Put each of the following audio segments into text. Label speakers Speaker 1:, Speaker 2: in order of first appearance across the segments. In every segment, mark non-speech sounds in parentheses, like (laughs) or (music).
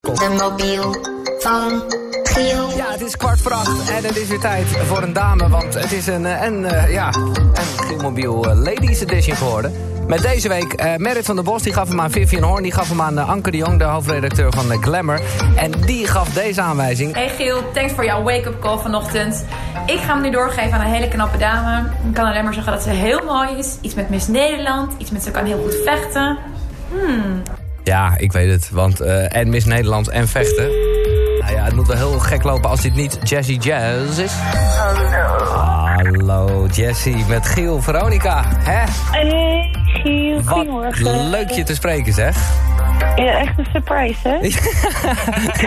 Speaker 1: komt.
Speaker 2: De mobiel van Giel.
Speaker 1: Ja, het is kwart voor acht en het is weer tijd voor een dame. Want het is een, eh, een, eh, ja, een Gielmobiel eh, Ladies Edition geworden. Met deze week eh, Merit van der Bos, die gaf hem aan Vivian Horn. Die gaf hem aan eh, Anke de Jong, de hoofdredacteur van eh, Glamour. En die gaf deze aanwijzing.
Speaker 3: Hey Giel, thanks voor jouw wake-up call vanochtend. Ik ga hem nu doorgeven aan een hele knappe dame. Ik kan alleen maar zeggen dat ze heel mooi is. Iets met Miss Nederland, iets met ze kan heel goed vechten.
Speaker 1: Ja, ik weet het. Want eh, en Miss Nederland en vechten. Nou ja, het moet wel heel gek lopen als dit niet Jazzy Jazz is. Hallo Jessie, met Giel Veronica. Hè?
Speaker 4: Hey, Giel,
Speaker 1: Wat
Speaker 4: goedemorgen.
Speaker 1: leuk je te spreken zeg.
Speaker 4: eh, Ja, echt een surprise, hè?
Speaker 1: (laughs)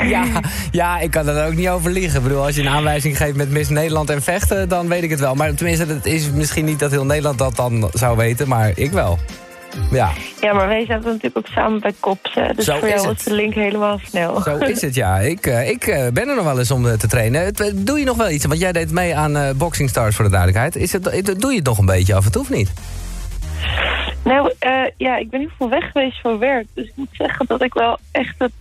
Speaker 1: Ja, ja, ik kan er ook niet over liegen. Ik bedoel, als je een aanwijzing geeft met Miss Nederland en vechten, dan weet ik het wel. Maar tenminste, het is misschien niet dat heel Nederland dat dan zou weten, maar ik wel. Ja,
Speaker 4: Ja, maar wij zaten natuurlijk ook samen bij Kops, hè? Dus
Speaker 1: Zo
Speaker 4: voor
Speaker 1: is
Speaker 4: jou
Speaker 1: het.
Speaker 4: was de link helemaal snel.
Speaker 1: zo is het ja. Ik, eh, ik eh, ben er nog wel eens om eh, te trainen. Het, eh, Doe je nog wel iets? Want jij deed mee aan eh, Boxing Stars voor de duidelijkheid. Is het, eh, doe je het nog een beetje af en toe of niet?
Speaker 4: Nou, eh, ja, ik ben heel veel weg geweest voor werk. Dus ik moet zeggen dat ik wel echt het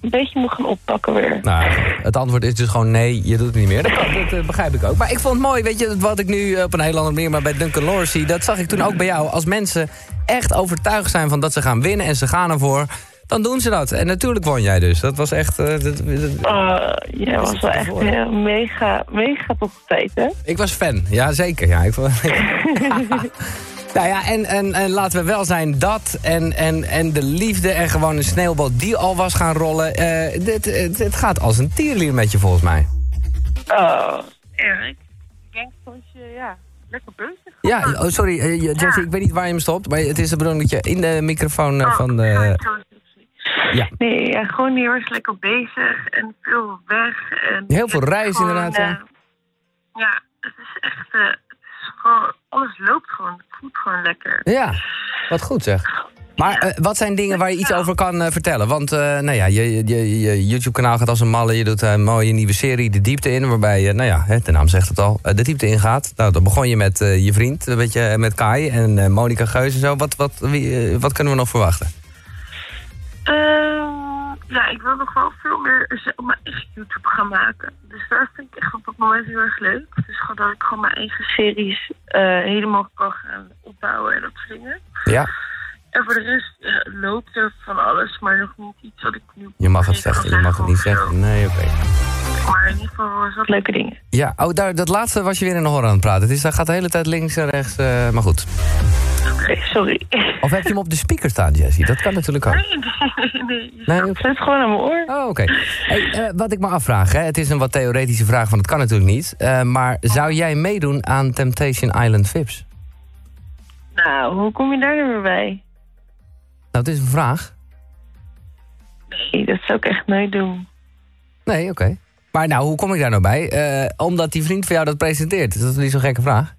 Speaker 4: een beetje moet gaan oppakken weer.
Speaker 1: Nou, het antwoord is dus gewoon nee, je doet het niet meer. Dat, kan, dat eh, begrijp ik ook. Maar ik vond het mooi, weet je, wat ik nu eh, op een heel andere manier maar bij Duncan Lawrence zie. Dat zag ik toen ook bij jou. Als mensen echt overtuigd zijn van dat ze gaan winnen en ze gaan ervoor, dan doen ze dat. En natuurlijk won jij dus. Dat was echt... eh, dat- dat-
Speaker 4: Ah, ja, was wel echt
Speaker 1: ervoor?
Speaker 4: eh, mega, mega toch tijd, hè?
Speaker 1: ik was fan, ja zeker. Ja, ik vond- (laughs) nou ja, en, en, en laten we wel zijn dat en, en, en de liefde en gewoon een sneeuwbal die al was gaan rollen. eh, dit, het, het gaat als een tierlier met je volgens mij.
Speaker 4: Oh, ja, ik denk dat je, ja, lekker bezig
Speaker 1: Ja, oh, sorry, eh, je- Jesse, ik weet niet waar je hem stopt, maar het is de bedoeling dat je in de microfoon eh, van de... Ja.
Speaker 4: Nee, ja, gewoon heel erg lekker bezig en veel weg. En
Speaker 1: Heel veel
Speaker 4: het is
Speaker 1: reis inderdaad, ja.
Speaker 4: eh, ja, het is echt, eh, het is gewoon, alles loopt gewoon, het voelt gewoon lekker.
Speaker 1: Ja, wat goed zeg. Maar eh, wat zijn dingen waar je iets over kan eh, vertellen? Want eh, nou ja, je, je- je, je YouTube-kanaal gaat als een malle. Je doet eh, een mooie nieuwe serie, De Diepte In. Waarbij je, nou ja, hè, de naam zegt het al, eh, de diepte ingaat. Nou, dan begon je met eh, je vriend, een beetje, eh, met Kai en eh, Monica Geus en zo. Wat, wat, wie, eh, wat kunnen we nog verwachten?
Speaker 4: Ehm, ja, ik wil nog wel veel meer zelf mijn eigen YouTube gaan maken. Dus daar vind ik echt op het moment heel erg leuk. Dus gewoon dat ik gewoon mijn eigen series eh, helemaal kan gaan opbouwen en dat soort dingen.
Speaker 1: Ja,
Speaker 4: En voor de rest eh, loopt er van alles, maar nog niet iets wat ik nu...
Speaker 1: je mag het
Speaker 4: precies
Speaker 1: zeggen,
Speaker 4: kan
Speaker 1: je mag het niet
Speaker 4: of zo.
Speaker 1: zeggen. Nee, oké.
Speaker 4: Maar in ieder geval was dat leuke dingen.
Speaker 1: Ja, oh, daar, dat laatste was je weer in de horror aan het praten. Het is, hij gaat de hele tijd links en rechts, eh, maar goed.
Speaker 4: Oké, sorry.
Speaker 1: Of heb je hem op de speaker staan, Jessie? Dat kan natuurlijk ook.
Speaker 4: Nee, nee, nee. Je
Speaker 1: Nee,
Speaker 4: staat- Zet gewoon aan mijn oor.
Speaker 1: Oh, oké. Hey, eh, wat ik me afvraag, hè? het is een wat theoretische vraag, want het kan natuurlijk niet. Eh, maar zou jij meedoen aan Temptation Island Vips?
Speaker 4: Nou, hoe kom je daar nou weer bij?
Speaker 1: Nou, het is een vraag.
Speaker 4: Nee, dat zou ik echt nooit doen.
Speaker 1: Nee, oké. Maar nou, hoe kom ik daar nou bij? Eh, omdat die vriend van jou dat presenteert. Is dat niet zo'n gekke vraag?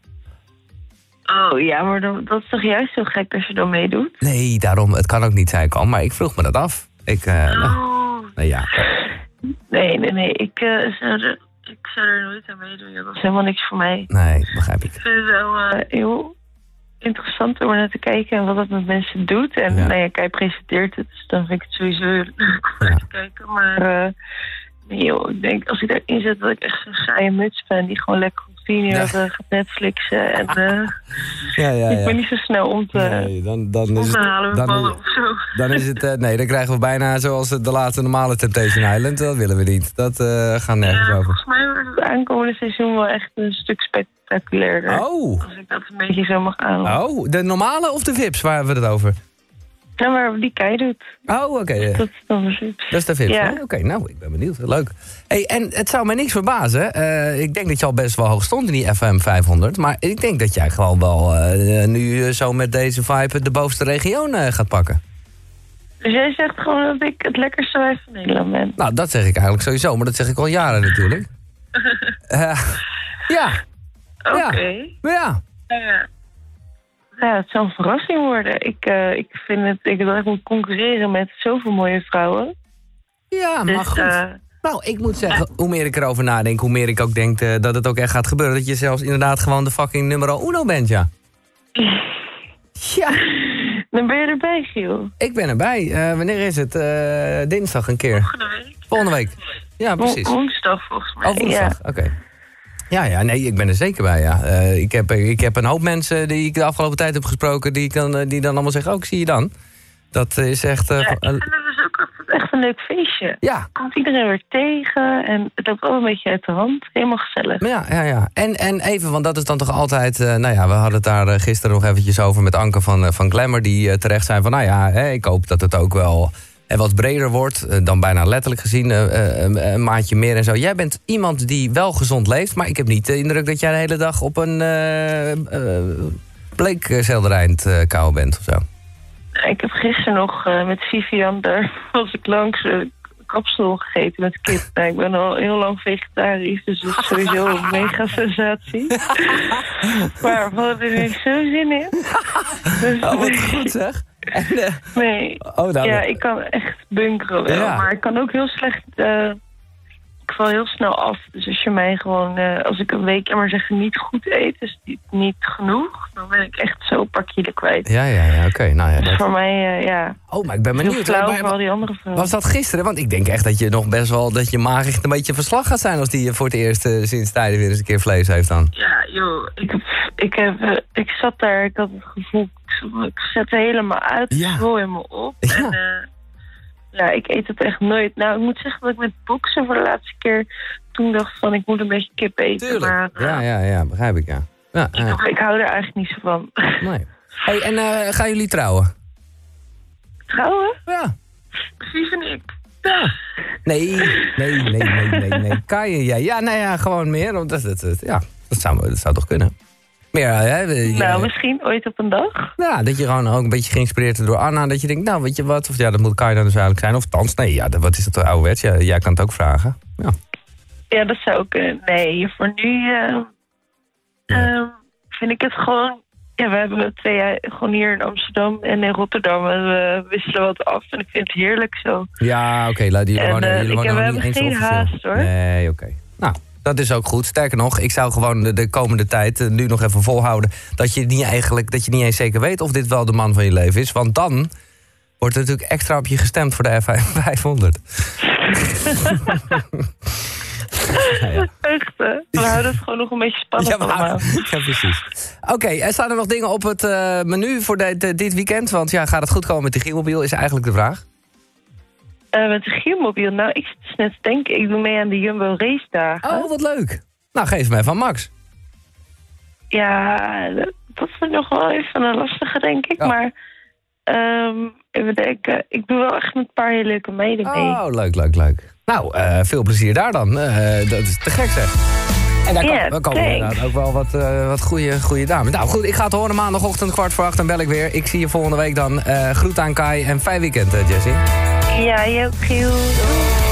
Speaker 4: Oh ja, maar dan, dat is toch juist zo gek als je dan meedoet?
Speaker 1: Nee, daarom, het kan ook niet zijn, kan. Maar ik vroeg me dat af. Ik, eh, nou,
Speaker 4: Oh,
Speaker 1: nou ja.
Speaker 4: nee, nee, nee. Ik, eh, zou, er, ik zou er nooit aan meedoen. joh. Dat is helemaal niks voor mij.
Speaker 1: Nee, begrijp ik.
Speaker 4: Ik vind het wel eh, heel interessant om er naar te kijken en wat dat met mensen doet. En
Speaker 1: Ja.
Speaker 4: nou ja, Kai presenteert het, dus dan vind ik het sowieso heel (laughs) leuk om
Speaker 1: Ja.
Speaker 4: naar te kijken. Maar eh, nee, joh, ik denk als ik daarin zit dat ik echt een saaie muts ben die gewoon lekker op tien uur
Speaker 1: Ja.
Speaker 4: eh, gaat Netflixen. En eh,
Speaker 1: Ja, ja,
Speaker 4: ik ben niet zo snel om te,
Speaker 1: Nee, dan, dan
Speaker 4: om
Speaker 1: is
Speaker 4: te halen
Speaker 1: het...
Speaker 4: met ballen
Speaker 1: Dan,
Speaker 4: of zo.
Speaker 1: Dan is het, eh, nee, dan krijgen we bijna zoals eh, de laatste normale Temptation Island. Dat willen we niet. Dat eh gaat nergens
Speaker 4: Ja,
Speaker 1: over.
Speaker 4: volgens mij wordt het aankomende seizoen wel echt een stuk spectaculairder.
Speaker 1: Oh,
Speaker 4: Als ik dat een beetje zo mag aanhouden.
Speaker 1: oh, de normale of de VIPs, waar hebben we het over?
Speaker 4: Nou, maar die Kai doet,
Speaker 1: Oh, oké. eh,
Speaker 4: dat is dan precies.
Speaker 1: Dat is de VIPs,
Speaker 4: Ja.
Speaker 1: hè? Oké, nou, ik ben benieuwd. Leuk. Hey, en het zou mij niks verbazen. eh, ik denk dat je al best wel hoog stond in die FM 500. Maar ik denk dat jij gewoon wel eh, nu eh, zo met deze vibe de bovenste regio eh, gaat pakken.
Speaker 4: Dus jij zegt gewoon dat ik het lekkerste wijf van Nederland ben.
Speaker 1: Nou, dat zeg ik eigenlijk sowieso. Maar dat zeg ik al jaren
Speaker 4: (laughs)
Speaker 1: natuurlijk. Eh, ja,
Speaker 4: Oké.
Speaker 1: Ja. maar ja.
Speaker 4: Ja. Ja, het zal een verrassing worden. Ik, eh, ik vind het, ik, dat ik moet concurreren met zoveel mooie vrouwen.
Speaker 1: Ja, maar
Speaker 4: Dus,
Speaker 1: goed.
Speaker 4: eh,
Speaker 1: Nou, ik moet zeggen, hoe meer ik erover nadenk, hoe meer ik ook denk eh, dat het ook echt gaat gebeuren. Dat je
Speaker 4: (laughs)
Speaker 1: zelfs inderdaad gewoon de fucking nummer uno bent, ja. Ja,
Speaker 4: Dan ben je erbij, Giel.
Speaker 1: Ik ben erbij. Eh, wanneer is het? Eh, dinsdag een keer.
Speaker 4: Volgende week.
Speaker 1: Volgende week. Ja, precies.
Speaker 4: Wo- Woensdag volgens mij.
Speaker 1: Oh, woensdag. Oké. Ja, ja, nee, ik ben er zeker bij, ja. Eh, ik, heb, ik heb een hoop mensen die ik de afgelopen tijd heb gesproken... die, kan, eh, die dan allemaal zeggen, oh, ik zie je dan. Dat is echt... eh,
Speaker 4: Ja, ik
Speaker 1: van- eh,
Speaker 4: vind het dus ook altijd echt een leuk feestje.
Speaker 1: ja,
Speaker 4: Komt iedereen weer tegen en het loopt wel een beetje uit de hand. Helemaal gezellig.
Speaker 1: Ja, ja, ja. En, en even, want dat is dan toch altijd... eh, nou ja, we hadden het daar eh, gisteren nog eventjes over met Anke van, eh, van Glamour... die eh, terecht zijn van, nou ja, hè, ik hoop dat het ook wel eh, wat breder wordt... eh, dan bijna letterlijk gezien, eh, eh, een- een maatje meer en zo. Jij bent iemand die wel gezond leeft... maar ik heb niet de indruk dat jij de hele dag op een eh eh, bleekselderij aan het eh, kauwen bent of zo.
Speaker 4: Ik heb gisteren nog eh, met Vivian, daar (laughs) was ik langs, eh, kapsel gegeten met kip. Nou, ik ben al heel lang vegetarisch, dus dat is sowieso een mega sensatie. maar we hadden er niet zo zin in. Dus
Speaker 1: Oh, zeg.
Speaker 4: (laughs)
Speaker 1: eh,
Speaker 4: nee,
Speaker 1: oh, nou,
Speaker 4: ja,
Speaker 1: dat-
Speaker 4: ik kan echt bunkeren wel,
Speaker 1: Ja.
Speaker 4: maar ik kan ook heel slecht... eh, ik val heel snel af. Dus als je mij gewoon, eh, als ik een week, en maar zeggen, niet goed eet, dus niet, niet genoeg, dan ben ik echt zo een paar kilo kwijt.
Speaker 1: Ja, ja, ja, oké. nou ja,
Speaker 4: Dus
Speaker 1: dat-
Speaker 4: voor mij, eh, ja,
Speaker 1: Oh, maar ik ben
Speaker 4: heel
Speaker 1: benieuwd. hè,
Speaker 4: flauw
Speaker 1: maar-
Speaker 4: voor al die andere vrouwen.
Speaker 1: Was dat gisteren? Want ik denk echt dat je nog best wel dat je maag echt een beetje verslag gaat zijn als die eh, voor het eerst eh, sinds tijden weer eens een keer vlees heeft dan.
Speaker 4: Ja, joh. Ik, heb- ik, heb, eh, ik zat daar, ik had het gevoel, ik- ik zette helemaal uit, het
Speaker 1: Ja.
Speaker 4: zwol in me op.
Speaker 1: Ja.
Speaker 4: En, eh, ja, ik eet het echt nooit. Nou, ik moet zeggen dat ik met boksen voor de laatste keer toen dacht van, ik moet een beetje kip eten. Maar eh,
Speaker 1: Ja, ja, ja, begrijp ik ja. Ja, ja.
Speaker 4: ik hou er eigenlijk niet zo van.
Speaker 1: nee. Hey, en eh, gaan jullie trouwen?
Speaker 4: Trouwen?
Speaker 1: Ja.
Speaker 4: Precies en ik.
Speaker 1: Nee, nee, nee, nee, nee, nee. Kan je? Ja, ja, nou ja, gewoon meer. want Dat, dat, dat- ja, dat zou, dat zou toch kunnen. Meer, eh, hè? eh,
Speaker 4: Nou,
Speaker 1: ja,
Speaker 4: misschien ooit op een dag.
Speaker 1: ja, dat je gewoon ook een beetje geïnspireerd wordt door Anna. Dat je denkt, nou, weet je wat? Of ja, dat moet Kai dan dus eigenlijk zijn. Of thans, nee, ja, dat- wat is dat voor ouderwets? Ja, jij kan het ook vragen. Ja.
Speaker 4: Ja, dat zou kunnen. Nee, voor nu eh, ehm, vind ik het gewoon. Ja, we hebben twee jaar gewoon hier in Amsterdam en in Rotterdam. En we wisselen wat af en ik vind het heerlijk zo.
Speaker 1: Ja, oké, laat jullie
Speaker 4: En,
Speaker 1: wonen,
Speaker 4: eh,
Speaker 1: jullie
Speaker 4: ik-
Speaker 1: wonen
Speaker 4: we
Speaker 1: nog
Speaker 4: hebben
Speaker 1: niet eens
Speaker 4: geen
Speaker 1: officieel.
Speaker 4: haast, hoor.
Speaker 1: Nee, oké. Nou, dat is ook goed. Sterker nog, ik zou gewoon de, de komende tijd eh, nu nog even volhouden... Dat je, niet eigenlijk, dat je niet eens zeker weet of dit wel de man van je leven is. Want dan wordt er natuurlijk extra op je gestemd voor de (laughs) F500. ja, ja.
Speaker 4: Echt, hè? We
Speaker 1: (laughs)
Speaker 4: houden het gewoon nog een beetje spannend
Speaker 1: Ja, maar-
Speaker 4: allemaal.
Speaker 1: (laughs) ja, precies. Oké, er staan er nog dingen op het eh, menu voor dit, dit weekend? Want ja, gaat het goed komen met de Gielmobiel, is eigenlijk de vraag.
Speaker 4: Eh, met de Giermobiel. Nou, ik zit dus net te denken, ik doe mee aan de Jumbo Race dagen.
Speaker 1: Oh, wat leuk. Nou, geef mij van Max.
Speaker 4: Ja, dat- dat vind ik nog wel even een lastige, denk ik.
Speaker 1: Ja.
Speaker 4: Maar ehm, even denken, ik doe wel echt met een paar hele leuke meiden mee.
Speaker 1: Oh, leuk, leuk, leuk. Nou, eh, veel plezier daar dan. Eh, dat is te gek zeg. En daar, kan,
Speaker 4: Ja,
Speaker 1: daar komen
Speaker 4: thanks.
Speaker 1: inderdaad ook wel wat, eh wat goede, goede dames. Nou goed, ik ga het horen maandagochtend kwart voor acht. Dan bel ik weer. Ik zie je volgende week dan. Eh groet aan Kai en fijn weekend, eh, Jessie.
Speaker 4: Ja, je hebt Giel. Doei.